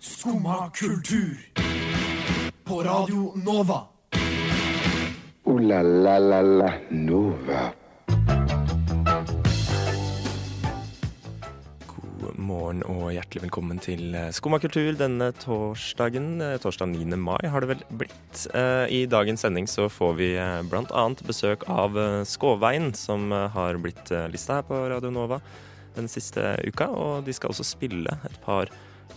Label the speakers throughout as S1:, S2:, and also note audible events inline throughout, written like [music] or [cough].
S1: Skumma kultur. På Radio Nova.
S2: Ooh la la la la Nova.
S3: God morgen og hjertelig velkommen til eh, Skumma kultur denne torsdagen. eh, Torsdag 9. mai har det vel blitt. Eh, I dagens sending så får vi eh, blant annet besøk av eh, Skåveien, som eh, har blitt eh, lista her på Radio Nova den siste uka. Og de skal også spille et par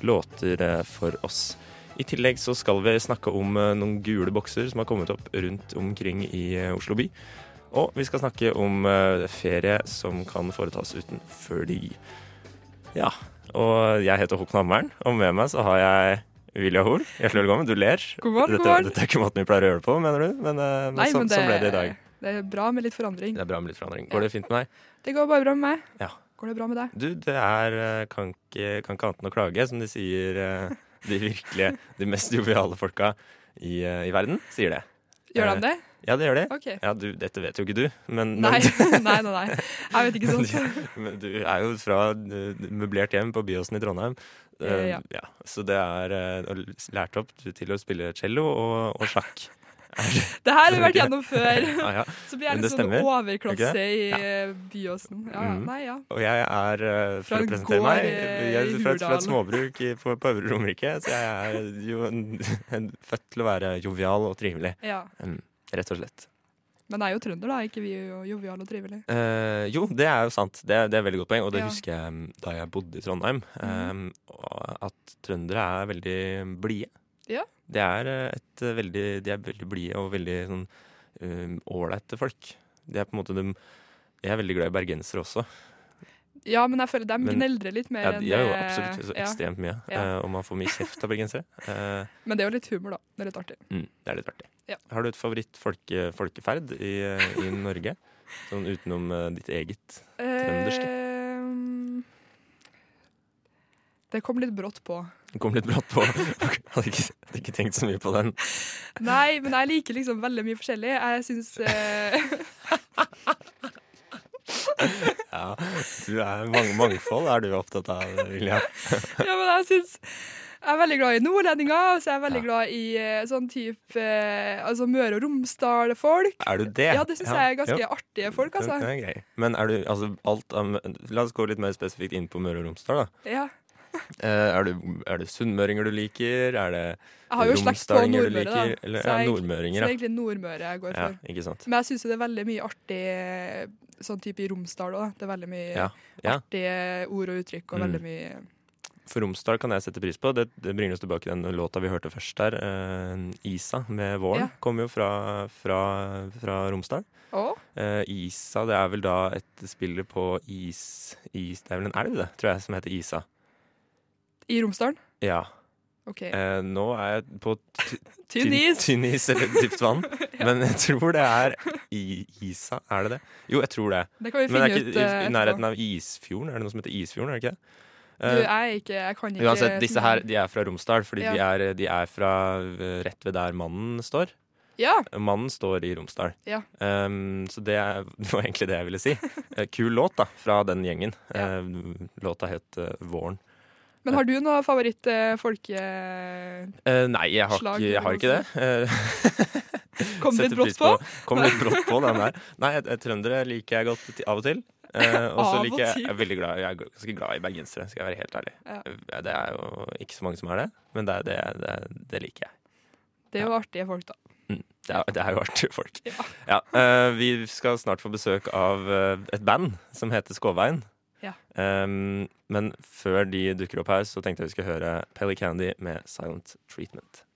S3: låter eh, for oss. I tillegg så skal vi snakke om eh, noen gule bokser som har kommet opp rundt omkring i eh, Oslo by. Og vi skal snakke om eh, ferie som kan foretas uten fly. Ja, og jeg heter Håkon Hammeren, og med meg så har jeg Vilja Hoel. Hjertelig velkommen. Du ler.
S4: God
S3: dette,
S4: morgen, god morgen.
S3: dette er ikke måten vi pleier å gjøre det på, mener du? Men, eh, men, sånn, sånn ble det i dag.
S4: det er bra med litt forandring.
S3: Det er bra med litt forandring. Går det fint med deg?
S4: Det går bare bra med meg.
S3: Ja.
S4: Går det bra med deg?
S3: Du, det er eh, kan ikke, kan ikke annet enn å klage, som de sier eh, de virkelige, de mest joviale folka i, eh, i verden, sier det.
S4: Gjør
S3: Eh,
S4: han det?
S3: Ja, det gjør de.
S4: OK.
S3: Ja, du, dette vet jo ikke du, men, men,
S4: Nei. [laughs] nei, nei, nei. Jeg vet ikke sånn.
S3: [laughs] men du er jo fra eh, møblert hjem på Byåsen i Trondheim. Eh,
S4: Ja.
S3: ja. Så det er eh, og lært opp til å spille cello og, og
S4: [laughs]
S3: sjakk.
S4: Det her har vi vært gjennom før.
S3: Ja, ja.
S4: Så blir jeg
S3: Men
S4: litt
S3: det
S4: sånn
S3: stemmer.
S4: overklasse
S3: Ok.
S4: i
S3: Ja.
S4: eh, Byåsen. Ja, ja.
S3: Mhm.
S4: nei, ja.
S3: Og jeg er, eh,
S4: Fra
S3: for å
S4: en
S3: presentere
S4: gård,
S3: meg,
S4: eh,
S3: jeg er
S4: i
S3: fra, et- fra et
S4: Hurdal.
S3: småbruk i, på, på Øvre Romerike, så jeg er jo en, [laughs] en, født til å være jovial og trivelig.
S4: ja.
S3: Mm, rett og slett.
S4: Men jeg er jo trønder, da. Ikke vi er jo joviale og trivelige.
S3: Eh, jo, det er jo sant. Det, det er et veldig godt poeng, og det
S4: Ja.
S3: husker jeg mm, da jeg bodde i Trondheim.
S4: Mhm.
S3: eh, og at trøndere er veldig blide.
S4: Ja.
S3: Det er eh, et eh, veldig, de er veldig blide og veldig sånn um, ålreite folk. De er på en måte de, Jeg er veldig glad i bergensere også.
S4: Ja, men jeg føler de
S3: Men-
S4: gneldrer litt mer
S3: Ja,
S4: enn
S3: de er jo
S4: eh,
S3: absolutt så
S4: ja.
S3: ekstremt mye.
S4: Ja.
S3: eh, og man får mye kjeft av bergensere. Eh,
S4: Men det er jo litt humor, da. Det er litt artig.
S3: mm, det er litt artig.
S4: Ja.
S3: Har du et favorittfolkeferd i, eh, i Norge? Sånn utenom eh, ditt eget? Trønderske.
S4: Eh, det kom litt brått på.
S3: Den kom litt brått på. [laughs] Hadde ikke, hadde ikke tenkt så mye på den.
S4: Nei, men jeg liker liksom veldig mye forskjellig. Jeg syns eh, [laughs]
S3: Ja, du er mange, mangfold er du opptatt av, Vilja.
S4: Ja, men jeg syns Jeg er veldig glad i nordlendinger, og så er jeg veldig
S3: Ja.
S4: glad i eh, sånn type eh, Altså Møre og Romsdal-folk.
S3: Er du det?
S4: Ja, det syns jeg er ganske
S3: jo.
S4: artige folk,
S3: Den
S4: altså.
S3: er grei. Men er du altså alt av La oss gå litt mer spesifikt inn på Møre og Romsdal, da.
S4: Ja.
S3: Eh, er, du, er det sunnmøringer du liker? Er det
S4: Jeg har jo slekt på
S3: romsdalinger du
S4: Nordmøre, da.
S3: liker? Eller, ja,
S4: så jeg- Så det
S3: nordmøringer,
S4: er
S3: ja.
S4: egentlig Nordmøre jeg går
S3: ja.
S4: for.
S3: Ikke sant.
S4: Men jeg syns det er veldig mye artig eh, sånn type i Romsdal òg. Det er veldig mye
S3: Ja. ja.
S4: artige ord og uttrykk og
S3: Mm.
S4: veldig mye
S3: For Romsdal kan jeg sette pris på. Det, det bringer oss tilbake til den låta vi hørte først der. eh, Isa med Våren
S4: Ja.
S3: kommer jo fra, fra, fra Romsdal.
S4: Å?
S3: Eh, Isa, det er vel da et spiller på is, is Det er vel en elv, det, tror jeg, som heter Isa.
S4: I Romsdalen?
S3: Ja.
S4: OK.
S3: Eh, nå er jeg på t-
S4: [laughs] Tynn is!
S3: tynn is eller dypt
S4: [laughs]
S3: vann, men jeg tror det er i, Isa. Er det det? Jo, jeg tror det.
S4: Det kan
S3: Men
S4: vi
S3: det
S4: finne
S3: er
S4: ut
S3: ikke i,
S4: eh,
S3: i
S4: etterpå.
S3: nærheten av Isfjorden? Er det noe som heter Isfjorden? er det ikke det?
S4: Du,
S3: Eh,
S4: jeg er ikke Jeg kan ikke
S3: Uansett, disse her de er fra Romsdal, fordi
S4: Ja.
S3: de, er, de er fra eh, rett ved der mannen står.
S4: Ja.
S3: Mannen står i Romsdal.
S4: Ja.
S3: Um, så det er- [laughs] det var egentlig det jeg ville si. Eh, Kul låt da, fra den gjengen. Eh, Låta het eh, Våren.
S4: Men har du noe favoritt eh, folke...
S3: Eh, nei, jeg har,
S4: Slag,
S3: ikke, jeg har ikke det. Eh, [laughs]
S4: Kom det
S3: setter
S4: brått
S3: pris
S4: på?
S3: Kom litt brått på, den der. Nei, eh, trøndere liker jeg godt til- av og til.
S4: [laughs]
S3: Eh, og
S4: Av
S3: så
S4: og
S3: liker jeg,
S4: til.
S3: jeg er veldig glad Jeg er ganske glad i bergensere, skal jeg være helt ærlig.
S4: Ja.
S3: Eh, Det er jo ikke så mange som er det, men det, er- det, er- det, er- det liker jeg.
S4: Det er jo artige folk, da.
S3: Det er, det er jo artige folk.
S4: Ja.
S3: Ja, eh, vi skal snart få besøk av eh, et band som heter Skåveien.
S4: Ja.
S3: Em, men før de dukker opp her, så tenkte jeg vi skulle høre Pelly Candy med 'Silent Treatment'.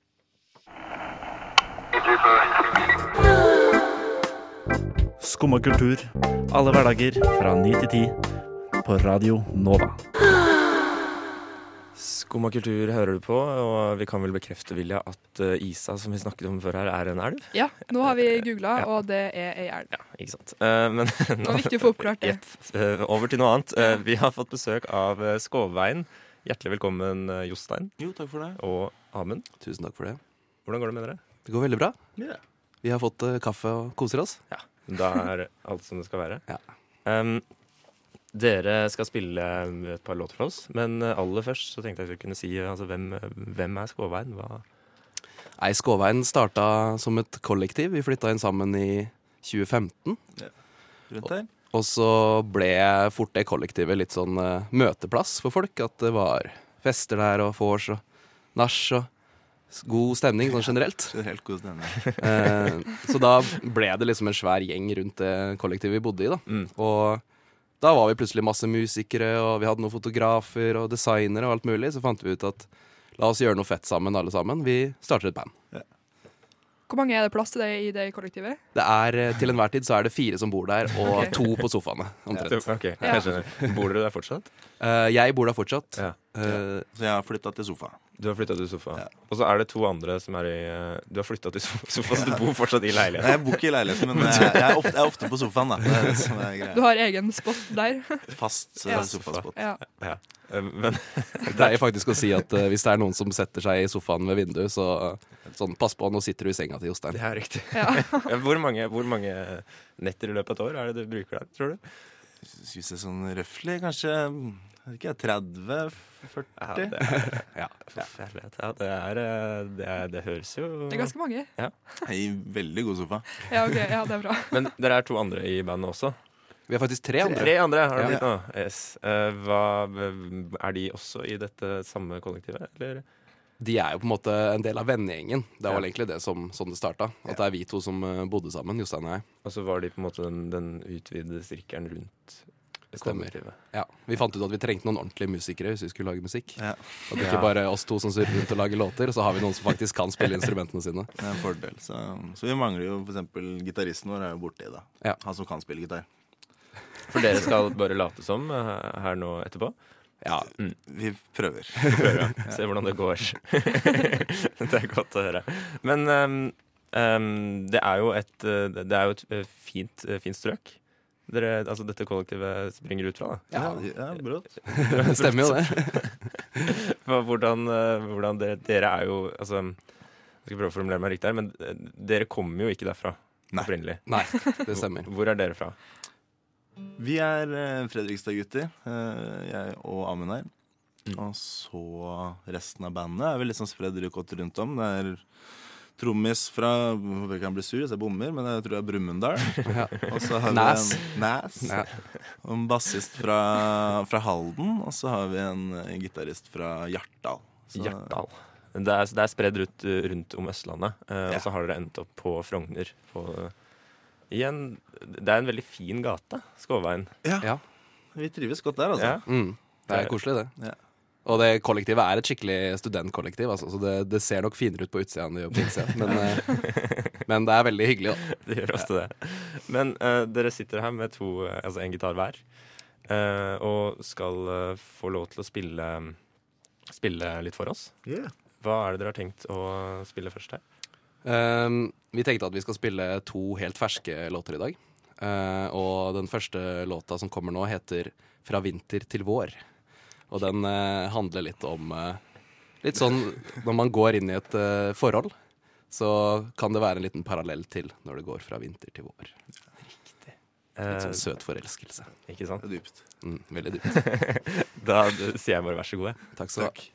S5: Skumma kultur. Alle hverdager fra 9 til 10 på Radio Nova.
S3: Skumma kultur hører du på, og vi kan vel bekrefte, Vilja, at eh, Isa, som vi snakket om før her, er en elv?
S4: Ja, nå har vi googla,
S3: Ja.
S4: og det er ei
S3: [laughs]
S4: elv.
S3: Ikke sant? Eh, men [laughs]
S4: Det var viktig å få oppklart det.
S3: eh, over til noe annet. Eh, vi har fått besøk av eh, Skåveien. Hjertelig velkommen, eh, Jostein
S6: Jo, takk for det.
S3: og Amund.
S6: Tusen takk for det.
S3: Hvordan går det med dere?
S6: Det går veldig bra. Vi har fått eh, kaffe og koser oss. [laughs]
S3: Da er alt som det skal være.
S6: Ja.
S3: Um, Dere skal spille eh, et par låter for oss, men eh, aller først så tenkte jeg at vi kunne si altså, hvem, hvem er Skåveien? Hva?
S6: Nei, Skåveien starta som et kollektiv. Vi flytta inn sammen i 2015.
S7: Rundt der.
S6: Og så ble fort det kollektivet litt sånn eh, møteplass for folk. At det var fester der og vors og nach og s- god stemning sånn generelt.
S7: Det er helt god stemning.
S6: [laughs] Eh, så da ble det liksom en svær gjeng rundt det kollektivet vi bodde i. da
S3: Mm.
S6: Og da var vi plutselig masse musikere, og vi hadde noen fotografer og designere og alt mulig. Så fant vi ut at la oss gjøre noe fett sammen, alle sammen. Vi starter et band.
S4: Hvor mange er det plass til det i det kollektivet?
S6: Det er, eh, Til enhver tid så er det fire som bor der, og
S4: Ok.
S6: to på sofaene. omtrent.
S3: Ok, jeg skjønner. Bor dere der fortsatt?
S6: Eh, jeg bor der fortsatt.
S3: Ja.
S6: Eh,
S7: Så jeg har flytta til sofa.
S3: Du har flytta til sofa.
S7: Ja.
S3: Og så er det to andre som er i eh, Du har flytta til sofa, sofa, så du bor fortsatt i
S7: Nei,
S3: leiligheten.
S7: jeg bor ikke i leiligheten, men jeg, jeg, er ofte, jeg er ofte på sofaen. da Det er det som er
S4: Du
S7: greia.
S4: har egen spot der. [laughs]
S7: Fast
S4: Ja.
S7: eh, sofaspott.
S4: ja.
S3: Eh, Men [laughs]
S6: Jeg pleier faktisk å si at eh, hvis det er noen som setter seg i sofaen ved vinduet, så eh, sånn, pass på, nå sitter du i senga til Jostein.
S3: det er riktig. [laughs]
S4: Ja.
S3: Hvor mange, hvor mange netter i løpet av et år er det du bruker der, tror du?
S7: Hvis det er sånn røftlig, kanskje vet ikke, 30-40?
S3: [laughs] Ja, det er, forferdelig. Ja, det, er, eh, det, er, det høres jo
S4: Det er ganske mange.
S7: I veldig god sofa.
S4: Ja, ok, ja, det er bra.
S3: Men dere er to andre i bandet også?
S6: Vi er faktisk tre andre.
S3: Tre andre har det
S7: Ja.
S3: blitt nå. Yes. Eh, hva, eh, er de også i dette samme kollektivet, eller?
S6: De er jo på en måte en del av vennegjengen. Det var
S3: Ja.
S6: vel egentlig det som sånn det starta. At det er vi to som eh, bodde sammen, Jostein og jeg.
S3: Og så Altså, var de på en måte den, den utvidede sirkelen rundt
S6: Stemmer.
S3: kollektivet.
S6: Ja. Vi fant ut at vi trengte noen ordentlige musikere hvis vi skulle lage musikk.
S7: Ja,
S6: At det ikke bare er oss to som surrer rundt og lager låter, og så har vi noen som faktisk kan spille instrumentene sine.
S7: det er en fordel. Så, så vi mangler jo f.eks. gitaristen vår er jo borte i da.
S6: Ja.
S7: Han som kan spille gitar.
S3: For dere skal bare late som eh, her nå etterpå.
S6: Ja,
S7: Vi prøver.
S3: Se hvordan det går. [laughs] det er godt å høre. Men ehm, ehm, det er jo et, eh, det er jo et eh, fint, eh, fint strøk. Dere, altså dette kollektivet springer ut fra.
S6: ja.
S7: ja brått.
S6: det [laughs] stemmer jo det.
S3: Da. Hva- Hvordan, eh, hvordan dere, dere er jo altså, Jeg skal prøve å formulere meg riktig her, men eh, dere kommer jo ikke derfra
S7: Nei.
S3: opprinnelig.
S6: Nei, det stemmer.
S3: Hvor er dere fra?
S7: Vi er eh, Fredrikstad-gutter, eh, jeg og Amund her.
S3: Mm.
S7: Og så resten av bandet er vel litt sånn spredd rukott rundt om. Det er trommis fra Håper ikke han blir sur hvis jeg bommer, men jeg tror det er Brumunddal.
S6: [laughs] Ja.
S7: Og så har vi
S6: Næs.
S7: en Næs.
S6: Ja.
S7: Og en bassist fra, fra Halden. Og så har vi en eh, gitarist fra Hjartdal. Så-
S3: Hjartdal. Det er, det er spredd rundt, rundt om Østlandet, eh,
S7: Ja.
S3: og så har dere endt opp på Frogner. På, i en, det er en veldig fin gate, Skåveien.
S6: Ja.
S7: Vi trives godt der, altså.
S3: Ja.
S6: Mm. Det er koselig, det.
S7: Ja.
S6: Og det kollektivet er et skikkelig studentkollektiv, altså, så det, det ser nok finere ut på utsida enn det gjør på innsida. Men, eh, men det er veldig hyggelig, da.
S3: Det gjør også det. Men eh, dere sitter her med to, eh, altså en gitar hver, eh, og skal eh, få lov til å spille, spille litt for oss. Hva er det dere har tenkt å spille først her?
S6: Um, vi tenkte at vi skal spille to helt ferske låter i dag. Eh, og den første låta som kommer nå, heter 'Fra vinter til vår'. Og den eh, handler litt om eh, Litt sånn når man går inn i et eh, forhold, så kan det være en liten parallell til når det går fra vinter til vår.
S3: Eh,
S6: Litt sånn søt forelskelse.
S3: ikke sant?
S7: Det er dypt.
S6: Mm, veldig dypt.
S3: Da sier jeg bare vær så god, jeg.
S6: Takk skal du ha.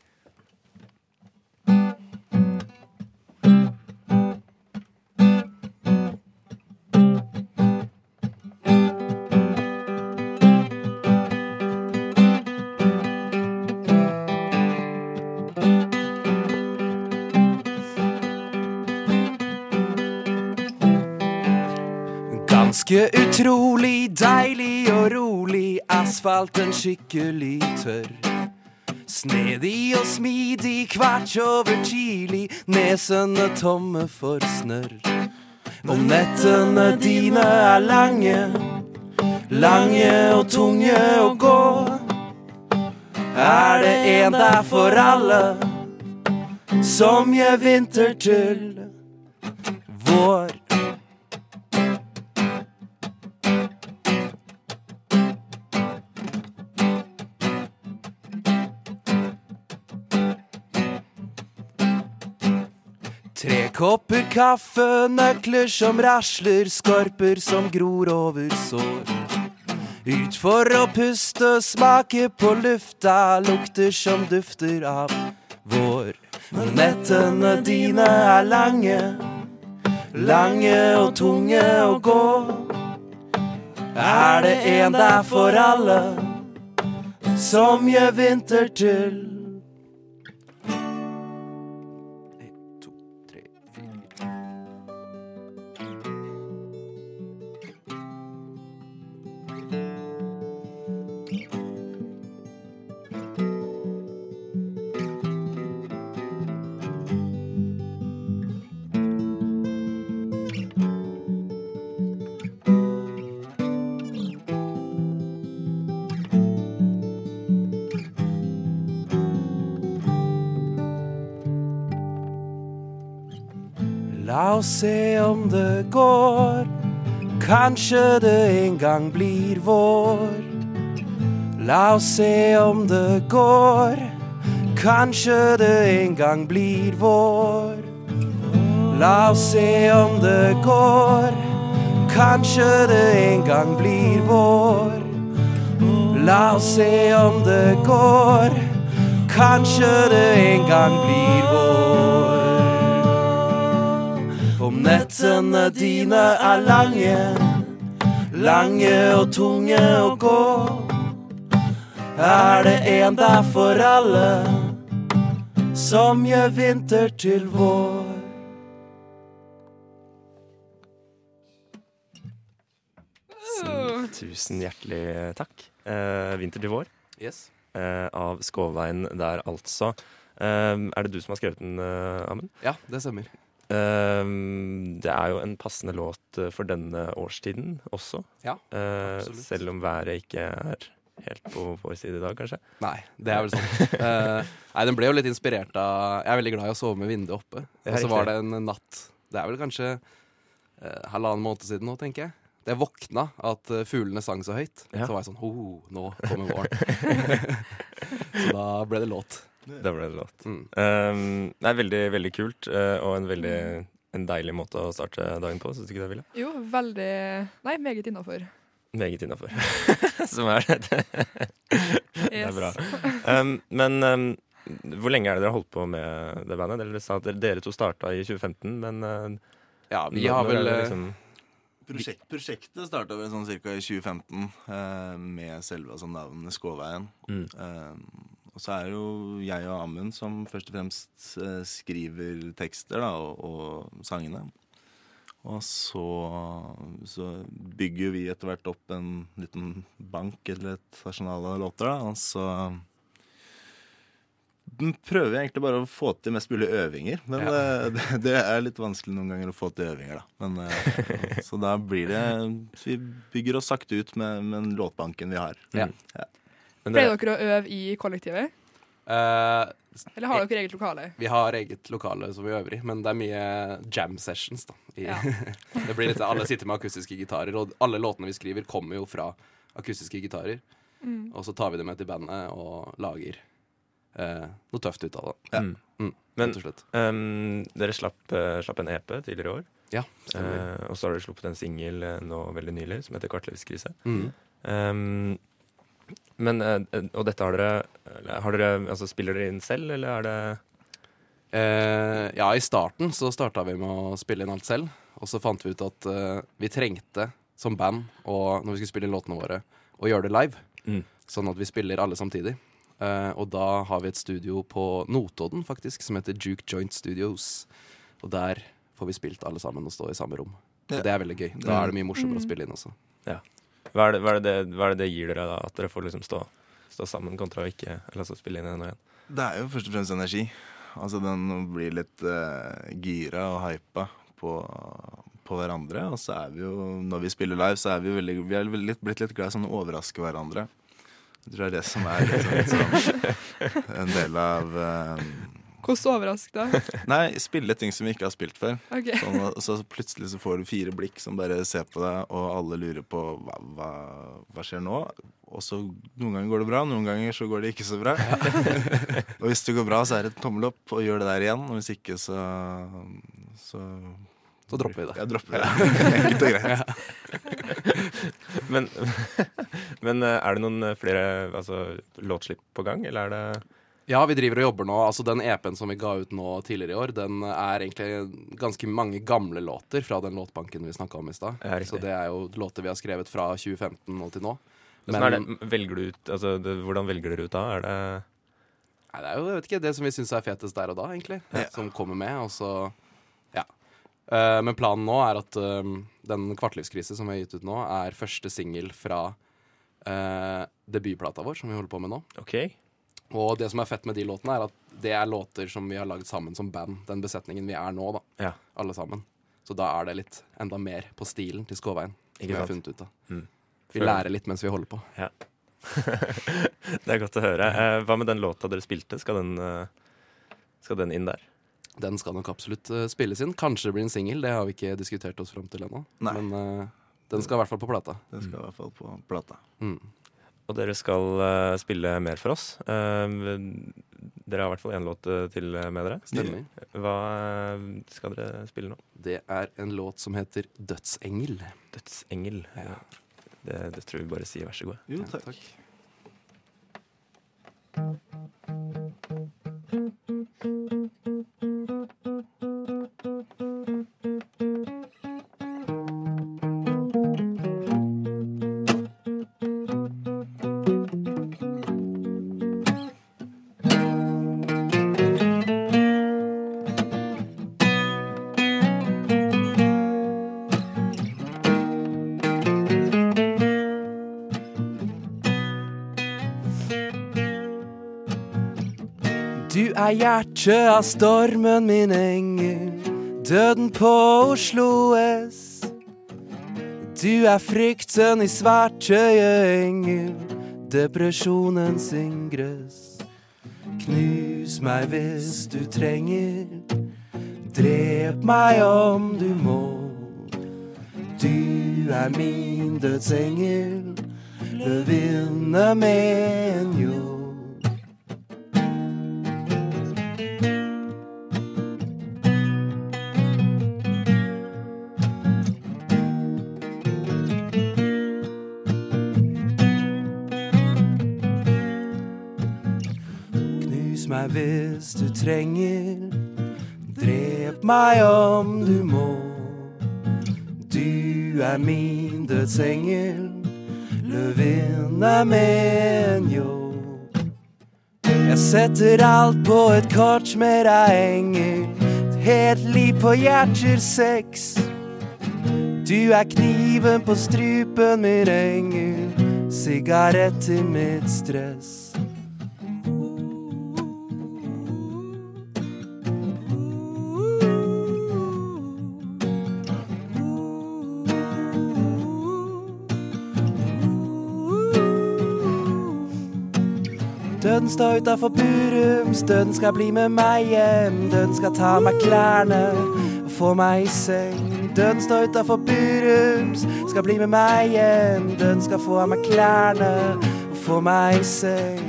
S6: Ganske utrolig deilig og rolig, asfalten skikkelig tørr. Snedig og smidig, kvart over tidlig, nesene tomme for snørr. Og nettene dine er lange, lange og tunge å gå. Er det en der for alle, som gjør vinter til vår? Tre kopper kaffe, nøkler som rasler, skorper som gror over sår. Ut for å puste og smake på lufta, lukter som dufter av vår. Når nettene dine er lange, lange og tunge å gå, er det en der for alle som gjør vinter til. En, to, tre, fire. La oss se om det går. Kanskje det en gang blir vår. La oss se om det går. Kanskje det en gang blir vår. La oss se om det går. Kanskje det en gang blir vår. La oss se om det går. Kanskje det en gang blir vår. Om nettene dine er lange, lange og tunge å gå, er det en der for alle som gjør vinter til vår.
S3: Tusen hjertelig takk. Eh, vinter til vår eh, av Skåveien der, altså. Eh, er det du som har skrevet den, eh, Amund?
S6: Ja, det stemmer.
S3: Eh, det er jo en passende låt eh, for denne årstiden også.
S6: Ja,
S3: Eh,
S6: absolutt.
S3: selv om været ikke er helt på vår side i dag, kanskje.
S6: Nei, det er vel sant. [laughs] Eh, nei, den ble jo litt inspirert av Jeg er veldig glad i å sove med vinduet oppe.
S3: Ja,
S6: Og så
S3: riktig.
S6: var det en natt Det er vel kanskje eh, halvannen måned siden nå, tenker jeg. Da jeg våkna at eh, fuglene sang så høyt,
S3: Ja.
S6: så var jeg sånn Ho, nå kommer våren. [laughs] så da ble det låt.
S3: Da ble det låt.
S6: Mm.
S3: Eh, det er veldig, veldig kult, eh, og en veldig en deilig måte å starte dagen på. Syns du ikke det, Ville?
S4: Jo, veldig Nei, meget innafor.
S3: Meget innafor. [laughs] Som er det. Det er bra. Um, men um, hvor lenge er det dere har holdt på med det bandet? Dere sa at dere- dere to starta i 2015, men uh,
S6: Ja, vi
S3: nå- nå
S6: har
S3: er
S6: vel
S3: det
S6: eh,
S3: liksom,
S7: Prosjekt, prosjektet starta vel sånn ca. i 2015, eh, med selve altså, navnet Skåveien.
S3: Mm.
S7: Eh, og så er det jo jeg og Amund som først og fremst eh, skriver tekster da, og, og sangene. Og så, så bygger jo vi etter hvert opp en liten bank eller et arsenal av låter, da. Og så den prøver jeg egentlig bare å få til mest mulig øvinger. Men
S6: Ja.
S7: eh, [laughs] det, det er litt vanskelig noen ganger å få til øvinger, da. Men, eh, så da blir det Vi bygger oss sakte ut med, med den låtbanken vi har.
S6: Ja.
S3: men
S4: Pleier
S3: dere,
S4: dere å øve i kollektivet,
S6: eh,
S4: eller har dere eget lokale?
S6: vi har eget lokale som vi øver i, men det er mye jam sessions. da i,
S4: Ja.
S6: [laughs] Det blir litt, Alle sitter med akustiske gitarer, og alle låtene vi skriver, kommer jo fra akustiske gitarer. Og så tar vi det med til bandet og lager eh, noe tøft ut av det.
S7: Ja.
S3: Mm.
S6: Mm,
S3: Men-
S6: rett og slett.
S3: um, dere slapp, eh, slapp en EP tidligere i år.
S6: Ja, stemmer.
S3: eh, og så har dere sluppet en singel eh, nå veldig nylig som heter 'Kartlivskrise'.
S6: Mm.
S3: Um, men, eh, og dette har dere, eller har dere altså, Spiller dere inn selv, eller er det
S6: Eh, ja, i starten så starta vi med å spille inn alt selv. Og så fant vi ut at eh, vi trengte, som band, og når vi skulle spille inn låtene våre, å gjøre det live.
S3: Mm.
S6: Sånn at vi spiller alle samtidig. Eh, og da har vi et studio på Notodden, faktisk, som heter Juke Joint Studios. Og der får vi spilt alle sammen og stå i samme rom.
S7: Ja.
S6: Og det er veldig gøy. Da er det mye morsommere å spille inn også.
S3: hva er det, hva er det, hva er det det gir dere, da? At dere får liksom stå, stå sammen kontra å ikke eller, altså, spille inn en og en?
S7: Det er jo først og fremst energi. Altså den å bli litt eh, gira og hypa på, på hverandre. Og så er vi jo, når vi spiller live, så er vi jo veldig Vi er litt, blitt litt glad i sånn å overraske hverandre. Jeg tror det er det som er liksom, litt sånn, en del av eh,
S4: Hvordan
S3: [laughs]
S4: overrasket da?
S7: Nei, spille ting som vi ikke har spilt før.
S4: Ok.
S7: Sånn, og så plutselig så får du fire blikk som bare ser på deg, og alle lurer på hva, hva, hva skjer nå. Og så noen ganger går det bra, noen ganger så går det ikke så bra. og hvis det går bra, så er det tommel opp, og gjør det der igjen. Og hvis ikke, så, så
S6: Så dropper vi det.
S7: Jeg dropper det. Enkelt og greit.
S3: Men, [laughs] men eh, er det noen eh, flere altså, låtslipp på gang, eller er det
S6: Ja, vi driver og jobber nå. Altså Den EP-en som vi ga ut nå tidligere i år, den er egentlig ganske mange gamle låter fra den låtbanken vi snakka om i stad.
S3: Ja, riktig.
S6: Så det er jo låter vi har skrevet fra 2015 og til nå.
S3: Hvordan, er det, velger du ut, altså, det, hvordan velger dere ut da? Er det
S6: Nei, det er jo jeg vet ikke, det som vi syns er fetest der og da, egentlig. Som kommer med. Og så Ja. Eh, men planen nå er at eh, den Kvartlivskrise som vi har gitt ut nå, er første singel fra eh, debutplata vår, som vi holder på med nå.
S3: OK?
S6: Og det som er fett med de låtene, er at det er låter som vi har lagd sammen som band. Den besetningen vi er nå, da.
S3: Ja.
S6: Alle sammen. Så da er det litt enda mer på stilen til Skåveien. Som
S3: Ikke
S6: vi har
S3: sant?
S6: funnet ut av.
S3: Mm.
S6: Vi lærer litt mens vi holder på.
S3: [laughs] Det er godt å høre. Eh, hva med den låta dere spilte? Skal den, eh, skal den inn der?
S6: Den skal nok absolutt eh, spilles inn. Kanskje det blir en singel, det har vi ikke diskutert oss fram til ennå.
S7: Nei.
S6: Men eh, den skal i hvert fall på plata.
S7: Det skal i hvert fall på plata.
S6: Mm.
S3: Og dere skal eh, spille mer for oss. Eh, dere har i hvert fall én låt eh, til med dere.
S6: Stemmer.
S3: Hva eh, skal dere spille nå?
S6: Det er en låt som heter 'Dødsengel'.
S3: Dødsengel.
S6: Ja.
S3: Det, det tror jeg vi bare sier vær så god.
S7: Jo,
S6: Ja,
S7: takk.
S6: Du er hjertet av stormen, min engel. Døden på Oslo S. Du er frykten i svartøyet, engel. Depresjonens ingress. Knus meg hvis du trenger. Drep meg om du må. Du er min dødsengel. Løvinne med en ljå. Knus meg hvis du trenger. Drep meg om du må. Du er min dødsengel. Løvinne med en ljå. Jeg setter alt på et kort med deg, engel. Et helt liv på hjerter seks. Du er kniven på strupen, min engel. Sigarett i mitt stress. Døden står utafor Burums, døden skal bli med meg hjem. Døden skal ta av meg klærne og få meg i seng. Døden står utafor Burums, skal bli med meg hjem. Døden skal få av meg klærne og få meg i seng.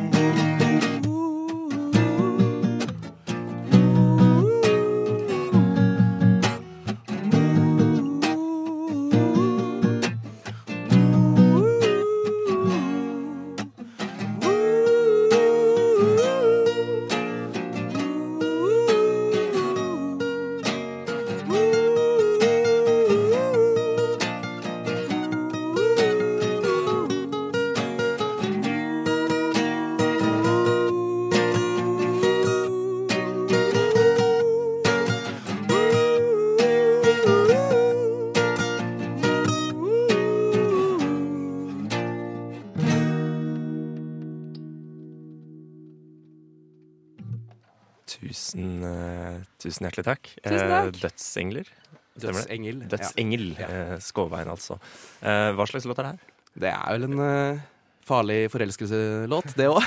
S3: Tusen, eh, tusen hjertelig takk.
S4: Tusen takk.
S3: Eh, dødsengler. Stemmer det?
S6: Dødsengel.
S3: Dødsengel. eh, Skåveien, altså. Eh, hva slags låt er det her?
S6: Det er vel en eh, farlig forelskelselåt, det òg.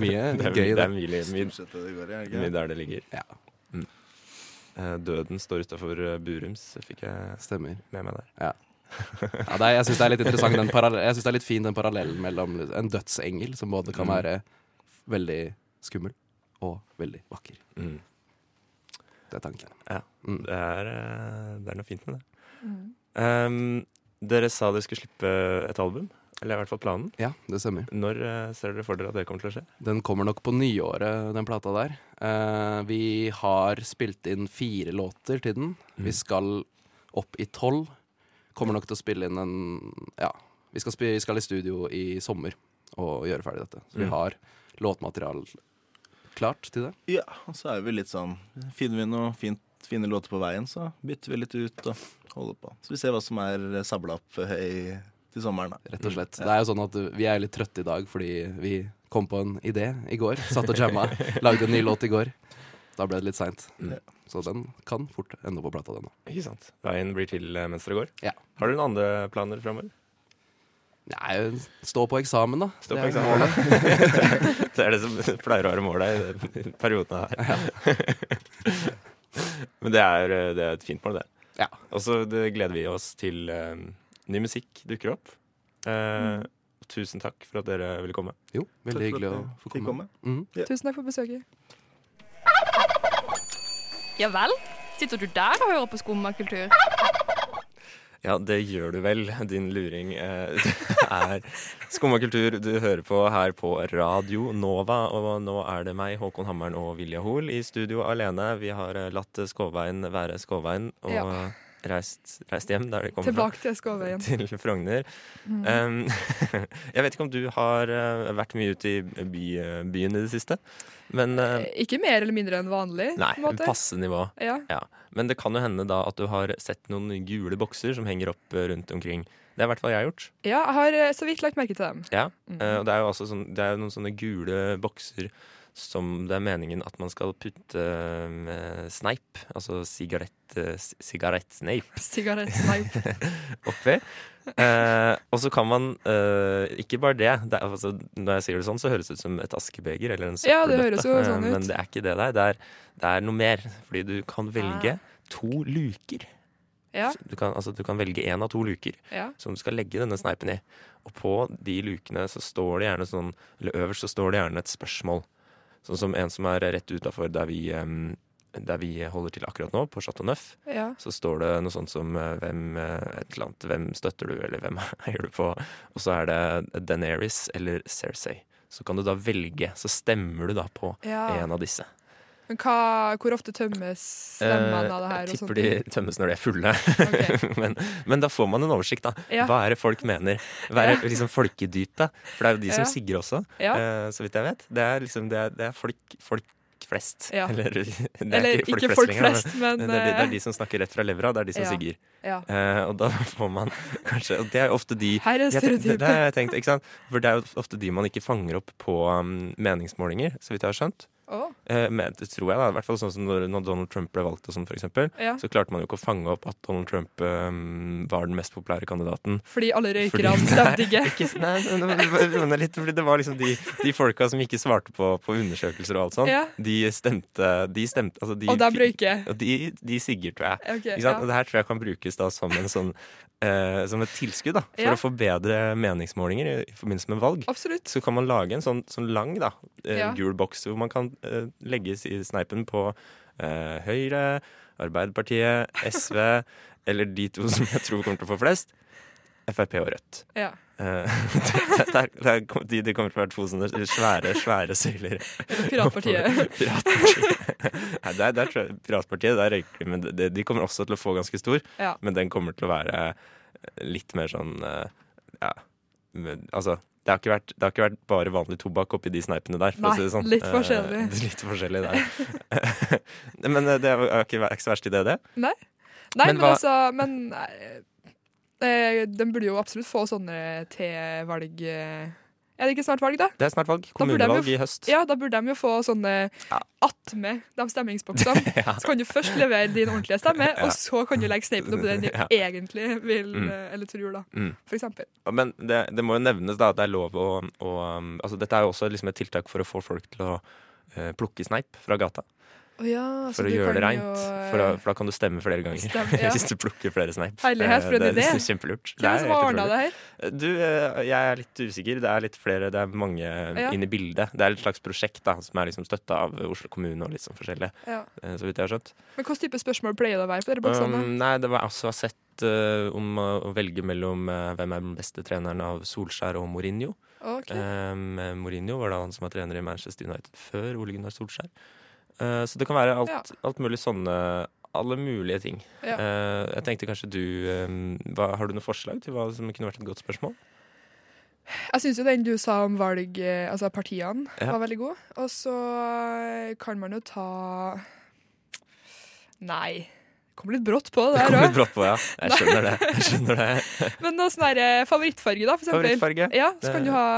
S6: Mye
S3: [laughs] Det er,
S6: gøy i
S3: det
S6: det.
S3: er mye, mye,
S7: Stort sett det det går i, er det
S3: mye
S7: ikke?
S3: der det ligger.
S6: Ja.
S3: Mm. Eh, døden står utafor Burums, fikk jeg
S6: Stemmer.
S3: med meg der.
S6: Ja, det er, jeg syns det er litt interessant den parallell- Jeg synes det er litt fin den parallellen mellom liksom en dødsengel, som både kan
S3: Mm.
S6: være veldig skummel og veldig vakker.
S3: Mm.
S6: Det er tanken. Mm.
S3: Det er, eh, det er noe fint med det. Ehm, dere sa dere skulle slippe et album. Eller i hvert fall planen.
S6: Ja, det stemmer.
S3: Når eh, ser dere for dere at det kommer til å skje?
S6: Den kommer nok på nyåret, den plata der. Eh, vi har spilt inn fire låter til den. Vi skal opp i tolv. Kommer nok til å spille inn en Ja. Vi skal, spi- vi skal i studio i sommer og gjøre ferdig dette. Så vi
S3: Mm.
S6: har låtmateriale klart til det.
S7: Ja, og så er vi litt sånn Finner vi noe fint, fine låter på veien, så bytter vi litt ut og holder på. Så vi ser hva som er sabla opp eh, i, til sommeren, da.
S6: Rett og slett. Det er jo sånn at vi er litt trøtte i dag fordi vi kom på en idé i går. Satt og jamma. Lagde en ny låt i går. Da ble det litt seint.
S3: Mm.
S6: Så den kan fort ende på plata, den òg.
S3: Ikke sant? Veien blir til eh, mens dere går.
S6: Ja.
S3: Har dere noen andre planer framover?
S6: Nei, stå på eksamen, da.
S3: Stå
S6: Det
S3: på
S6: er
S3: eksamen.
S6: målet.
S3: liksom [laughs] Det er det som pleier å være målet i den perioden her. [laughs] Men det er, eh, det er et fint mål, det.
S6: Ja.
S3: Og så det gleder vi oss til eh, ny musikk dukker opp. Eh,
S6: Mm.
S3: Tusen takk for at dere ville komme.
S6: Jo,
S7: Takk for
S6: veldig hyggelig å
S7: at jeg
S6: få
S7: fikk
S6: komme. Mhm.
S4: Tusen takk for besøket.
S8: Ja vel? Sitter du der og hører på skummakultur?
S3: Ja, det gjør du vel, din luring. Eh, [laughs] Det er Skumma kultur du hører på her på Radio Nova. Og nå er det meg, Håkon Hammeren og Vilja Hoel i studio alene. Vi har eh, latt Skåveien være Skåveien og
S4: Ja.
S3: eh, reist, reist hjem der de kommer fra.
S4: Tilbake Mm. til Skåveien.
S3: Til Frogner. Um, [laughs] jeg vet ikke om du har eh, vært mye ute i by, byen i det siste, men eh,
S4: Ikke mer eller mindre enn vanlig.
S3: Nei,
S4: på en måte.
S3: passe nivå.
S4: Ja.
S3: Ja. Men det kan jo hende da at du har sett noen gule bokser som henger opp eh, rundt omkring. Det er i hvert fall jeg har gjort.
S4: ja, jeg har eh, så vidt lagt merke til dem. [laughs]
S3: Ja,
S4: Mm.
S3: eh, og det er jo altså sånn, det er jo noen sånne gule bokser som det er meningen at man skal putte eh, sneip, altså sigarett, eh, s- sigarettsneip,
S4: Sigarettsneip.
S3: oppi. Eh, og så kan man eh, Ikke bare det. det er, altså, når jeg sier det sånn, så høres det ut som et askebeger eller en
S4: Ja, det
S3: søppeldøtte.
S4: høres jo sånn
S3: eh,
S4: ut. Ah.
S3: Men det er ikke det der. Det er, det er noe mer. Fordi du kan velge to luker.
S4: Ja,
S3: Du kan, altså, du kan velge én av to luker
S4: ja.
S3: som du skal legge denne sneipen i. Og på de lukene så står det gjerne sånn, eller øverst så står det gjerne et spørsmål. Sånn som en som er rett utafor der, vi, em, der vi holder til akkurat nå, på Chateau Neuf,
S4: ja.
S3: så står det noe sånt som eh, hvem, eh, et eller annet, hvem støtter du, eller hvem [laughs] heier du på? Og så er det Daenerys eller Cersei. Så kan du da velge, så stemmer du da på
S4: ja.
S3: en av disse.
S4: Men hva, hvor ofte tømmes stemmene av det
S3: Eh,
S4: her?
S3: Jeg
S4: og
S3: tipper
S4: sånne
S3: de
S4: ting?
S3: tømmes når de er fulle. [laughs]
S4: Ok.
S3: men, men da får man en oversikt, da.
S4: Ja.
S3: Hva er det folk mener? Hva er
S4: Ja.
S3: liksom folkedypet? For det er jo de som
S4: Ja.
S3: sigger også,
S4: Ja.
S3: eh, så vidt jeg vet. Det er liksom det er, det er folk, folk flest.
S4: Ja.
S3: Eller [laughs] det er
S4: Eller ikke folk flest, men
S3: men det er, de, det er
S4: eh,
S3: de som snakker rett fra levra, det er de som
S4: Ja.
S3: sigger.
S4: ja.
S3: Eh, og da får man [laughs] kanskje Og det er jo ofte de
S4: Her er
S3: jeg ten- det, det
S4: stereotypet.
S3: har jeg tenkt, ikke sant? For det er jo ofte de man ikke fanger opp på um, meningsmålinger, så vidt jeg har skjønt.
S4: Å,
S3: Eh, men det tror jeg da, i hvert fall sånn som når, når Donald Trump ble valgt og sånn for eksempel,
S4: ja.
S3: så klarte man jo ikke å fange opp at Donald Trump eh, var den mest populære kandidaten.
S4: Fordi alle
S3: [laughs]
S4: røykerne
S3: Fordi-
S4: stemte ikke.
S3: Ikke, s- nei, men- men- men- men litt, fordi det var liksom de, de folka som ikke svarte på, på undersøkelser og alt sånt,
S4: Ja.
S3: de stemte, de stemte altså de,
S4: Og de røyker.
S3: Og de, de sigger, tror jeg.
S4: Ok,
S3: Ikke sant? Og
S4: ja.
S3: det her tror jeg kan brukes da som, en sånn, eh, som et tilskudd da, for
S4: Ja.
S3: å forbedre meningsmålinger i, i forbindelse med valg.
S4: Absolutt.
S3: Så kan man lage en sånn, sånn lang da, eh,
S4: Ja.
S3: gul boks hvor man kan eh, legge si- sneipen på eh, Høyre, Arbeiderpartiet, SV, eller de to som jeg tror kommer til å få flest, Frp og Rødt.
S4: Ja.
S3: Eh, [laughs] det, det, det, er- de, det kommer til å være to sånne svære, svære søyler. [laughs]
S4: Piratpartiet.
S3: Piratpartiet. Nei, der, der tror jeg Piratpartiet, der røyker de, men de, de kommer også til å få ganske stor.
S4: Ja.
S3: Men den kommer til å være litt mer sånn eh, Ja, men, altså det har, ikke vært, det har ikke vært bare vanlig tobakk oppi de sneipene der. For
S4: Nei,
S3: å si det sånn.
S4: litt
S3: Eh,
S4: forskjellig.
S3: litt forskjellig der. [laughs] men eh, det er ikke, er ikke så verst idé, det.
S4: Nei,
S3: Men
S4: men,
S3: hva-
S4: altså Men eh, eh, den burde jo absolutt få sånne T-valg eh. Er det ikke snart valg, da?
S3: Det er snart valg.
S4: Da burde de jo
S3: Kommunevalg
S4: f-
S3: i høst.
S4: Ja, da burde de jo få sånne attmed de
S3: [laughs]
S4: stemmingsboksene. Så kan du først levere din ordentlige stemme, og så kan du legge sneipen opp i den du
S3: Ja.
S4: egentlig vil,
S3: Mm.
S4: eh, eller tror, da.
S3: Mm.
S4: For eksempel.
S3: Men det, det må jo nevnes da at det er lov å, å um, altså Dette er jo også liksom et tiltak for å få folk til å eh, plukke sneip fra gata.
S4: Å ja, så
S3: for å
S4: du
S3: gjøre det
S4: kan
S3: reint.
S4: jo,
S3: For,
S4: eh,
S3: å- for da kan du stemme flere ganger. [laughs]
S4: Stemme, ja.
S3: Hvis du plukker flere snap.
S4: Herlighet,
S3: Eh,
S4: for en
S3: det,
S4: idé.
S3: er kjempelurt.
S4: Hvem er det som har ordna det her?
S3: Du, eh, jeg er litt usikker. Det er litt flere, det er mange eh,
S4: Ja.
S3: inn i bildet. Det er et slags prosjekt da, som er liksom støtta av Oslo kommune og litt sånn forskjellig,
S4: Ja.
S3: eh, så vidt jeg har skjønt.
S4: Men hvilken type spørsmål pleier det å være på dere boksene?
S3: Um, nei, det var jeg også har sett eh, om å å velge mellom eh, hvem er den beste treneren av Solskjær og Mourinho.
S4: Ok.
S3: Um, eh, Mourinho var da han som var trener i Manchester United før Ole Gunnar Solskjær. Eh, så det kan være alt,
S4: Ja.
S3: alt mulig sånne alle mulige ting.
S4: Ja.
S3: Eh, jeg tenkte kanskje du um, hva, Har du noen forslag til hva som kunne vært et godt spørsmål?
S4: Jeg syns jo den du sa om valg, eh, altså partiene,
S3: Ja.
S4: var veldig god. Og så eh, kan man jo ta Nei. Kom litt brått på det
S3: Det
S4: her
S3: kom litt
S4: òg.
S3: brått på, ja. Jeg skjønner det. Jeg skjønner
S4: [laughs]
S3: det.
S4: Men noe sånn her eh, favorittfarge, da, for eksempel.
S3: Favorittfarge?
S4: Ja, så kan du ha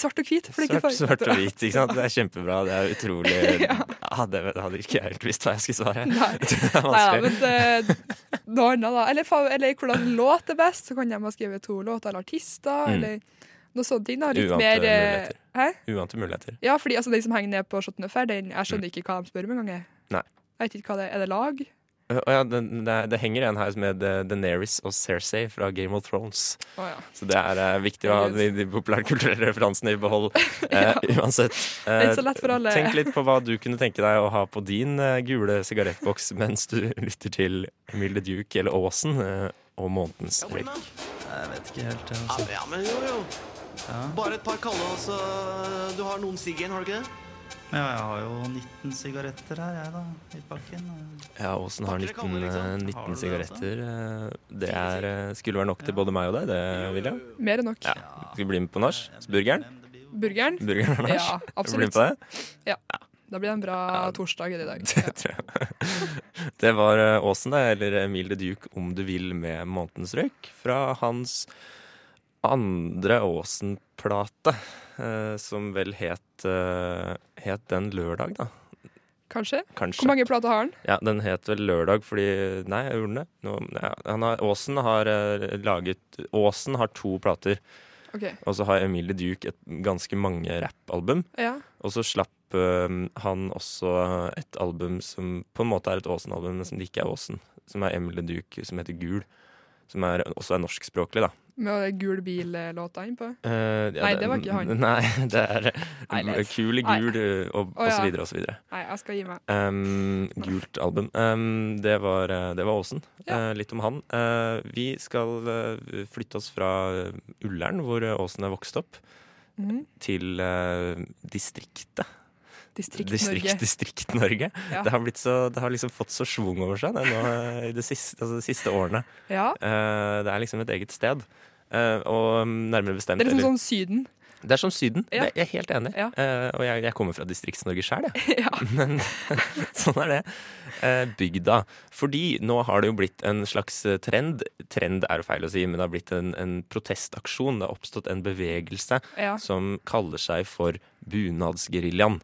S4: svart og hvit. For det er ikke
S3: Svart, svart og
S4: farge.
S3: hvit, ikke sant? Det er kjempebra. Det er utrolig ja. Det hadde ikke jeg helt visst hva jeg skulle svare.
S4: [laughs] Nei.
S3: [laughs] Det er
S4: Nei da,
S3: vanskelig.
S4: men eh, noe annet, da. Eller, fa- eller hvordan låt er best, så kan de ha skrevet to låter eller artister,
S3: Mm.
S4: eller noe sånt. ting, da. Litt
S3: Uante
S4: mer eh,
S3: muligheter.
S4: Hæ?
S3: Uante muligheter.
S4: Ja, fordi altså, den som henger ned på Shot Nuff her, den, jeg skjønner ikke hva de spør om engang. jeg.
S3: Mm. Nei.
S4: Jeg vet ikke hva det er. Er det lag?
S3: Å ja, det, det, det henger en her med Deneris og Cersei fra Game of Thrones.
S4: Å ja.
S3: Så det er eh, viktig å ha de, de populærkulturelle referansene i behold.
S4: [laughs]
S3: Eh, Uansett. eh,
S4: Det er ikke så lett for alle.
S3: Tenk litt på hva du kunne tenke deg å ha på din eh, gule sigarettboks mens du [laughs] lytter til Emil the Duke eller Aasen eh, og månedens rip.
S9: Ja, men jo, jo. Bare et par kalde, og så Du har noen siggen, har du ikke det?
S5: Ja, jeg har jo 19 sigaretter her, jeg, da. I pakken.
S3: Ja, Åsen har 19, eh, 19 sigaretter. eh, Det er, eh, skulle være nok til både meg og deg, det, William.
S4: Mer enn nok.
S3: Ja. Skal vi bli med på nach? Burgeren?
S4: Burgeren?
S3: Burgeren og nach? Skal
S4: Ja,
S3: vi bli med
S4: absolutt.
S3: på det? [laughs]
S4: Da blir det en bra torsdag i dag.
S3: Det tror jeg. Det var eh, Åsen, det, eller Emil the Duke, om du vil, med Månedens røyk. Fra hans andre Åsen-plate, eh, som vel het, eh, het Den lørdag, da.
S4: Kanskje.
S3: Kanskje.
S4: Hvor mange plater har han?
S3: Ja, den het vel Lørdag fordi Nei, jeg gjorde den det? Nå, ja, han har, Åsen har eh, laget Åsen har to plater,
S4: Ok,
S3: og så har Emilie Duke et ganske mange rappalbum.
S4: ja.
S3: Og så slapp eh, han også et album som på en måte er et Åsen-album, men som ikke er Åsen. Som er Emilie Duke, som heter Gul. Som er, også er norskspråklig, da.
S4: Med gul bil-låta innpå.
S3: Eh, ja,
S4: Nei, det var ikke han.
S3: [laughs] Nei, det er
S4: Nei, det-
S3: Kul i gul eh, og,
S4: Å,
S3: og så
S4: ja.
S3: videre og så videre.
S4: Nei, jeg skal gi meg.
S3: Um, gult album. Um, det, var, eh, det var Åsen.
S4: Ja.
S3: Eh, litt om han. Eh, vi skal eh, flytte oss fra eh, Ullern, hvor eh, Åsen er vokst opp,
S4: Mhm.
S3: til eh, distriktet.
S4: Distrikt-Norge.
S3: Distrikt-Norge.
S4: Ja.
S3: Det, har blitt så- det har liksom fått så schwung over seg det, nå, eh, i de siste, altså, de siste årene.
S4: Ja.
S3: Eh, det er liksom et eget sted. Eh, og mm, nærmere bestemt
S4: Det er liksom
S3: eller-
S4: sånn Syden.
S3: det er som Syden.
S4: Ja.
S3: Det- Jeg er helt enig.
S4: Ja.
S3: Eh, og jeg, jeg kommer fra Distrikts-Norge sjøl, jeg.
S4: [laughs] Ja.
S3: [laughs] Men sånn er det. Eh, bygda. Fordi nå har det jo blitt en slags eh, trend. Trend er jo feil å si, men det har blitt en, en protestaksjon. Det har oppstått en bevegelse
S4: Ja.
S3: som kaller seg for Bunadsgeriljaen.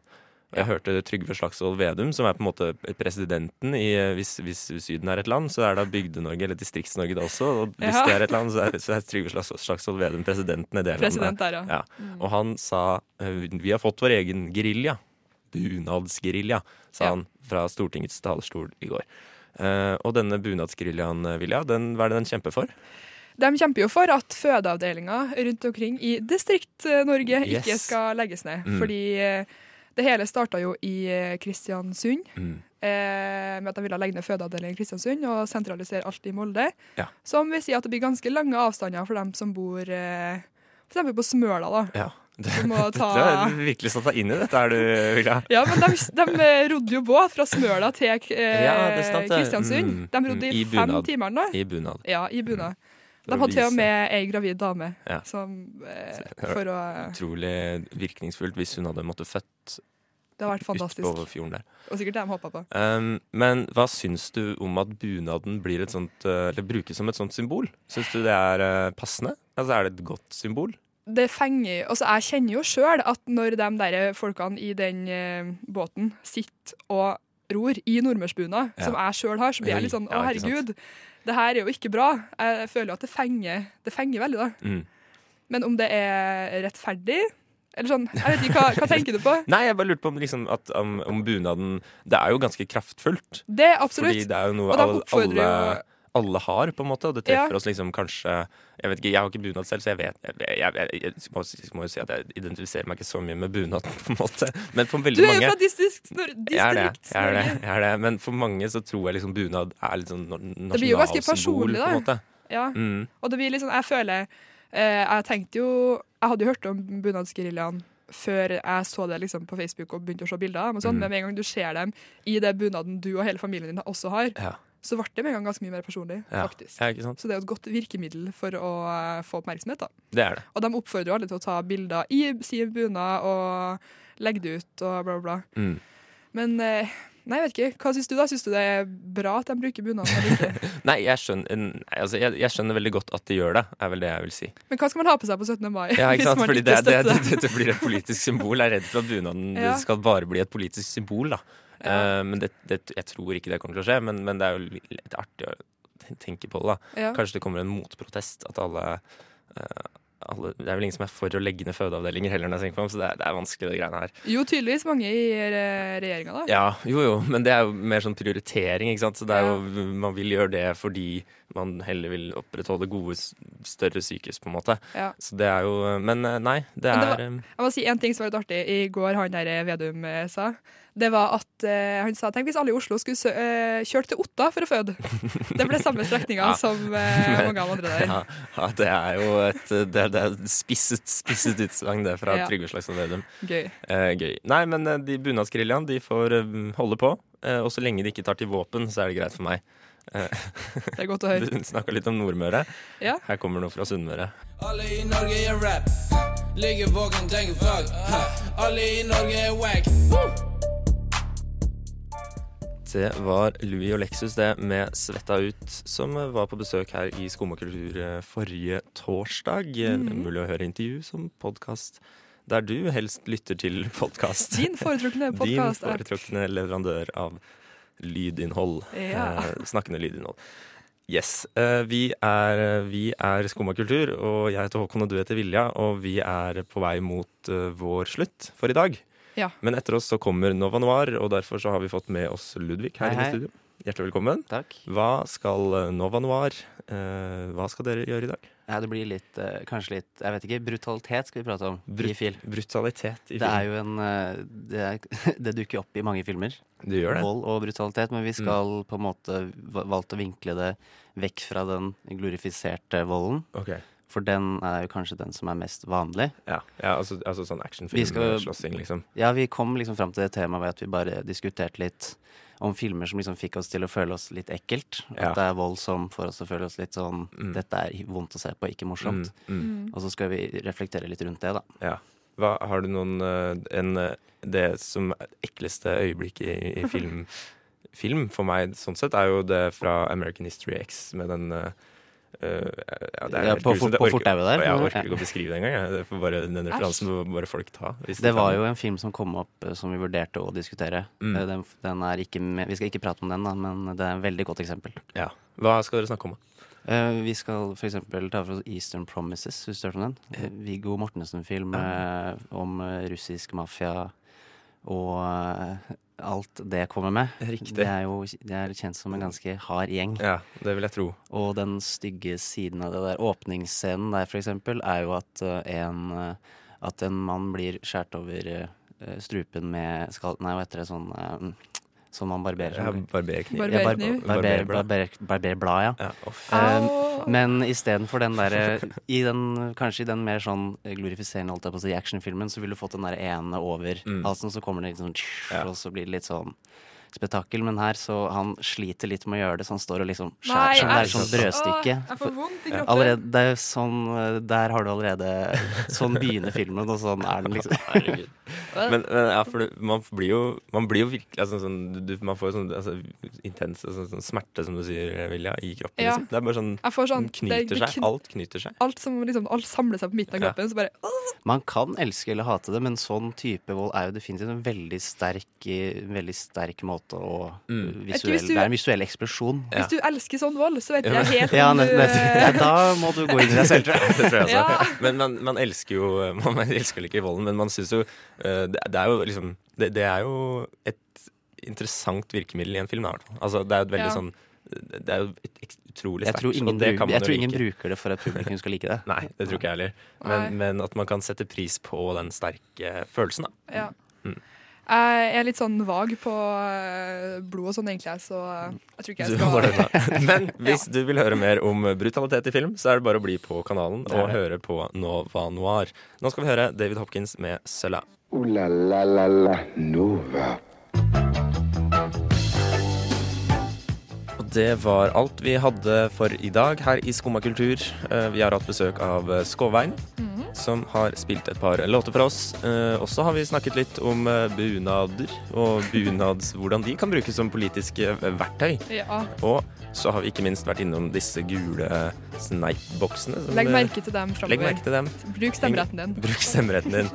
S3: Og Jeg hørte Trygve Slagsvold Vedum, som er på en måte presidenten i eh, Hvis, hvis Syden er et land, så er da Bygde-Norge eller Distrikts-Norge det også. Og hvis
S4: Ja.
S3: det er et land, så er, så er Trygve Slags- Slagsvold Vedum presidenten i det landet.
S4: President Mm. der, ja.
S3: Ja. Og han sa eh, Vi har fått vår egen gerilja. Bunadsgerilja, sa
S4: Ja.
S3: han fra Stortingets talerstol i går. Eh, og denne bunadsgeriljaen, eh, Vilja, den, hva er det den kjemper for?
S4: De kjemper jo for at fødeavdelinga rundt omkring i Distrikt-Norge
S3: Yes.
S4: ikke skal legges ned.
S3: Mm.
S4: Fordi eh, det hele starta jo i eh, Kristiansund.
S3: Mm.
S4: Eh, med at de ville legge ned fødeavdelingen i Kristiansund og sentralisere alt i Molde.
S3: Ja.
S4: Som vil si at det blir ganske lange avstander for dem som bor eh, f.eks. på Smøla, da.
S3: Ja. [laughs] Det,
S4: Som må
S3: du
S4: ta
S3: har virkelig satt deg inn i dette, er du, Vilja.
S4: ja, men de, de eh, rodde jo båt fra Smøla til eh,
S3: Ja, det er sant, det.
S4: Kristiansund.
S3: Mm.
S4: De rodde
S3: I
S4: i, fem
S3: bunad.
S4: timer nå.
S3: I bunad.
S4: Ja, i bunad.
S3: For
S4: De
S3: å
S4: hadde til
S3: vise-
S4: og med ei gravid dame
S3: Mm. Ja.
S4: som eh, For å
S3: Utrolig virkningsfullt hvis hun hadde måttet født
S4: Det har vært
S3: utpå
S4: fantastisk.
S3: fjorden der.
S4: Og sikkert det de håpa på.
S3: Um, men hva syns du om at bunaden blir et sånt, eh, eller brukes som et sånt symbol? Syns du det er eh, passende? Altså, er det et godt symbol?
S4: Det fenger Altså, jeg kjenner jo sjøl at når de der folkene i den eh, båten sitter og ror i nordmørsbuna,
S3: Ja.
S4: som jeg sjøl har, så blir jeg litt sånn
S3: Ja,
S4: Å,
S3: ikke sant.
S4: herregud, det her er jo ikke bra. Jeg føler jo at det fenger, det fenger veldig, da.
S3: Mm.
S4: Men om det er rettferdig, Eller sånn, jeg vet ikke, hva, hva tenker du på?
S3: Nei, jeg bare lurte på om, liksom, at, om, om bunaden Det er jo ganske kraftfullt.
S4: Det, absolutt.
S3: Fordi det er jo noe
S4: Og da
S3: alle,
S4: oppfordrer
S3: alle,
S4: jo-
S3: alle har, på en måte. Og det treffer
S4: Ja.
S3: oss liksom kanskje Jeg vet ikke, jeg har ikke bunad selv, så jeg vet Jeg, jeg, jeg, jeg må, jeg må jo si at jeg identifiserer meg ikke så mye med bunaden, [laughs] på en måte. Men for
S4: Du
S3: veldig
S4: er jo
S3: mange
S4: fra Distrikts-Norge.
S3: jeg er det, jeg er det, jeg er det. Men for mange så tror jeg liksom bunad er litt sånn nor- nasjonalsymbol.
S4: blir jo ganske personlig,
S3: på en
S4: da.
S3: måte.
S4: Ja.
S3: Mm.
S4: Og det blir litt sånn, jeg føler eh, Jeg tenkte jo Jeg hadde jo hørt om bunadsgeriljaen før jeg så det liksom på Facebook og begynte å se bilder av dem. og sånn,
S3: Mm.
S4: Men med en gang du ser dem i den bunaden du og hele familien din også har,
S3: Ja.
S4: så ble det med en gang ganske mye mer personlig.
S3: Ja.
S4: faktisk.
S3: ja, ikke sant?
S4: Så det er jo et godt virkemiddel for å eh, få oppmerksomhet. da.
S3: Det er det.
S4: Og de oppfordrer jo alle til å ta bilder i sin bunad og legge det ut og bla, bla, bla.
S3: Mm.
S4: Men eh, nei, jeg vet ikke. Hva syns du, da? Syns du det er bra at de bruker bunad? eller ikke?
S3: [laughs] Nei, jeg skjønner, nei, altså, jeg, jeg skjønner veldig godt at de gjør det, er vel det jeg vil si.
S4: Men hva skal man ha på seg på 17. mai? [laughs]
S3: Ja, ikke sant? Fordi det, det, det, [laughs]
S4: det?
S3: dette blir et politisk symbol. Jeg er redd for at bunaden
S4: Ja.
S3: skal bare bli et politisk symbol. Da. Eh, men det, det, jeg tror ikke det kommer til å skje, men, men det er jo litt- litt artig å ten- tenke på det. Da.
S4: Ja.
S3: Kanskje det kommer en motprotest. At alle, eh, alle Det er vel ingen som er for å legge ned fødeavdelinger heller, enn jeg tenker meg om, så det er, det er vanskelig, det greiene her.
S4: Jo, tydeligvis mange i regjeringa, da.
S3: Ja, jo jo, men det er jo mer sånn prioritering, ikke sant. Så det er jo, man vil gjøre det fordi man heller vil opprettholde gode, s- større sykehus, på en måte.
S4: Ja.
S3: Så det er jo Men eh, nei, det
S4: Men det
S3: er eh,
S4: Jeg må si en ting som var litt artig i går, han der Vedum eh, sa. Det var at eh, han sa tenk hvis alle i Oslo skulle sø- eh, kjørt til Otta for å
S3: [laughs]
S4: føde. Det ble samme strekninga
S3: Ja.
S4: som eh, mange av de andre der.
S3: Ja, ja, det er jo et det, er- det er et spisset, spisset utsagn, det, fra
S4: Ja.
S3: Trygve Slagsvold Vedum.
S4: Gøy.
S3: Eh, gøy. Nei, men eh, de bunadsgeriljaen, de får eh, holde på. Eh, og så lenge de ikke tar til våpen, så er det greit for meg.
S4: Det er godt å
S3: Du
S4: høre.
S3: snakka litt om Nordmøre.
S4: Ja.
S3: Her kommer noe fra Sunnmøre.
S1: Alle i Norge er rap. Ligger våken, tenker fuck. Alle i Norge er wack.
S3: Det var Louis og Lexus, det, med Svetta ut, som eh, var på besøk her i Skum og kultur eh, forrige torsdag. Eh,
S4: Mm.
S3: Det er mulig å høre intervju som podkast der du helst lytter til podkast.
S4: Din foretrukne
S3: Din
S4: podkast er
S3: foretrukne leverandør av lydinnhold.
S4: Ja.
S3: Eh, snakkende lydinnhold. Yes. Eh, vi er, vi er Skumma kultur, og jeg heter Håkon, og du heter Vilja. Og vi er på vei mot eh, vår slutt for i dag.
S4: Ja.
S3: Men etter oss så kommer Nova Noir, og derfor så har vi fått med oss Ludvig her
S9: Hei,
S3: inne
S9: hei.
S3: i studio. Hjertelig velkommen.
S9: Takk.
S3: Hva skal eh, Nova Noir eh, Hva skal dere gjøre i dag?
S9: Ja, det blir litt, eh, kanskje litt Jeg vet ikke, brutalitet skal vi prate om
S3: Brut-
S9: i film.
S3: Brutalitet i
S9: Det
S3: film.
S9: er jo en eh, det, er, [laughs] det dukker opp i mange filmer.
S3: Du gjør det. Mm.
S9: Vold og brutalitet. Men vi skal på en måte va- valgt å vinkle det vekk fra den glorifiserte volden.
S3: Ok.
S9: For den er jo kanskje den som er mest vanlig.
S3: Ja, ja altså, altså sånn
S9: Vi skal-
S3: actionfilm-slåssing, liksom.
S9: Ja, vi kom liksom fram til det temaet ved at vi bare diskuterte litt om filmer som liksom fikk oss til å føle oss litt ekkelt.
S3: Ja.
S9: At det er vold som får oss til å føle oss litt sånn Dette er vondt å se på, ikke
S3: Mm,
S9: morsomt.
S3: mm.
S9: Og så skal vi reflektere litt rundt det, da.
S3: Ja. Hva, har du noen eh, en, eh, Det som er det ekleste øyeblikket i, i film, [laughs] film for meg, sånn sett, er jo det fra American History X med den eh, eh, ja, det er
S9: Ja,
S3: helt
S9: på
S3: grusomt.
S9: for-
S3: Jeg
S9: på
S3: orker-
S9: fortauet der.
S3: Ja, Jeg
S9: Ja.
S3: orker ikke å beskrive det engang. jeg. Det får bare, den referansen må bare folk ta. hvis de
S9: Det var
S3: kan.
S9: jo en film som kom opp eh, som vi vurderte å diskutere.
S3: Mm.
S9: Eh, Den, den er ikke med, vi skal ikke prate om den, da, men det er et veldig godt eksempel.
S3: ja. Hva skal dere snakke om? da?
S9: Eh, Vi skal f.eks. ta for oss Eastern Promises, hvis du hørte om den. Eh, Viggo Mortensen-film eh, om eh, russisk mafia og eh, alt det kommer med.
S3: Riktig.
S9: Det er jo det er kjent som en ganske hard gjeng.
S3: Ja, det vil jeg tro.
S9: Og den stygge siden av det der åpningsscenen der, for eksempel, er jo at eh, en, eh, at en mann blir skåret over eh, strupen med skal, Nei, hva heter det, sånn eh, Som man barberer
S3: Jeg har
S9: seg med.
S3: barberkniv.
S9: Ja, bar-
S4: Barberkniv.
S9: barber-
S3: Barberblad.
S9: barber- Barberblad, ja.
S3: Ja, off.
S9: Eh,
S4: Au.
S9: men istedenfor den derre i den- Kanskje i den mer sånn glorifiserende holdt jeg på å si, actionfilmen, så ville du fått den der ene over
S3: Mm.
S9: halsen, og så kommer det litt sånn
S3: Ja.
S9: Og så blir det litt sånn spetakkel. Men her så han sliter litt med å gjøre det, så han står og liksom
S4: Nei,
S9: skjærer seg.
S4: æsj.
S9: Det er sånn
S4: Åh,
S9: brødstykke.
S4: Jeg får vondt i kroppen.
S9: Allerede, det er jo sånn eh, Der har du allerede Sånn begynner filmen, og sånn er den liksom.
S3: Men, men ja, for det- man blir jo, man blir jo virkelig altså, sånn, du- du, Man får jo sånn altså, intens altså, sånn smerte, som du sier, Vilja, i kroppen.
S4: Ja.
S3: Liksom. Det er bare sånn
S4: Jeg får sånn
S3: Den knyter
S4: det- det
S3: seg.
S4: kn-
S3: Alt knyter seg.
S4: Alt som liksom, alt samler seg på midten av
S3: Ja.
S4: kroppen. Så bare åh,
S9: Man kan elske eller hate det, men sånn type vold er jo definitivt en veldig sterk, eh, veldig sterk måte og
S3: Mm.
S9: visuell,
S4: hvis du-
S9: det er en visuell eksplosjon.
S3: Ja.
S4: Hvis du elsker sånn vold, så vet jeg helt
S9: Ja,
S4: om du
S9: nett, nett, ja, da må du gå inn i deg selv, tror jeg.
S3: Det tror jeg også.
S4: Ja.
S3: Men man, man elsker jo Man, man elsker vel ikke volden, men man syns jo eh, det, det er jo liksom det, det er jo et interessant virkemiddel i en film, da, i hvert fall. Altså, det er jo et veldig
S4: Ja.
S3: sånn Det er jo et ek- utrolig
S9: Jeg
S3: sterkt.
S9: tror ingen,
S3: og det
S9: bruker,
S3: kan man
S9: jeg
S3: jo
S9: tror ingen
S3: like.
S9: bruker det for at publikum skal like det.
S3: Nei, det tror ikke jeg heller.
S4: Nei.
S3: Men, men at man kan sette pris på den sterke følelsen, da.
S4: Ja.
S3: Mm.
S4: Jeg er litt sånn vag på eh, blod og sånn, egentlig, jeg, så jeg tror ikke jeg
S3: Du
S4: skal
S3: holder unna. Men hvis du vil høre mer om brutalitet i film, så er det bare å bli på kanalen og høre på Nova Noir. Nå skal vi høre David Hopkins med 'Sølla'.
S2: Ooh la la la la Nova.
S3: Og det var alt vi hadde for i dag her i Skumma kultur. Eh, Vi har hatt besøk av eh, Skåveien,
S4: Mhm.
S3: som har spilt et par låter for oss. Eh, Og så har vi snakket litt om eh, bunader og bunads, hvordan de kan brukes som politiske eh, verktøy.
S4: [laughs] Ja.
S3: Og så har vi ikke minst vært innom disse gule sneipboksene. som,
S4: Legg
S3: eh,
S4: merke til dem
S3: Legg merke
S4: framover.
S3: til dem.
S4: Bruk stemmeretten din.
S3: Bruk stemmeretten din. [laughs]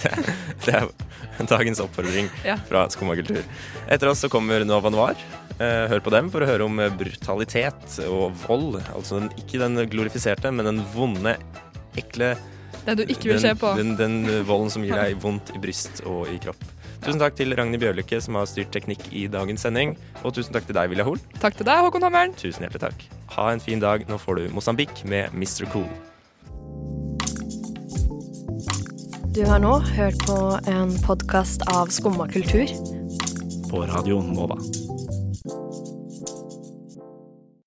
S3: det, det er dagens oppfordring
S4: Ja.
S3: fra Skumma kultur. Etter oss så kommer Nova Noir. Eh, Hør på dem for å høre om eh, brutalitet og vold. Altså den, ikke den glorifiserte, men den vonde, ekle
S4: Den du ikke vil se på.
S3: Den, den, den volden som gir deg vondt i bryst og i kropp. Tusen takk til Ragnhild Bjørlykke, som har styrt teknikk i dagens sending. Og tusen takk til deg, Vilja Hoel.
S4: Takk til deg, Håkon Hammeren.
S3: Tusen hjertelig takk. Ha en fin dag. Nå får du Mosambik med Mr. Cool.
S10: Du har nå hørt på en podkast av Skumma kultur.
S5: På Radio Nova.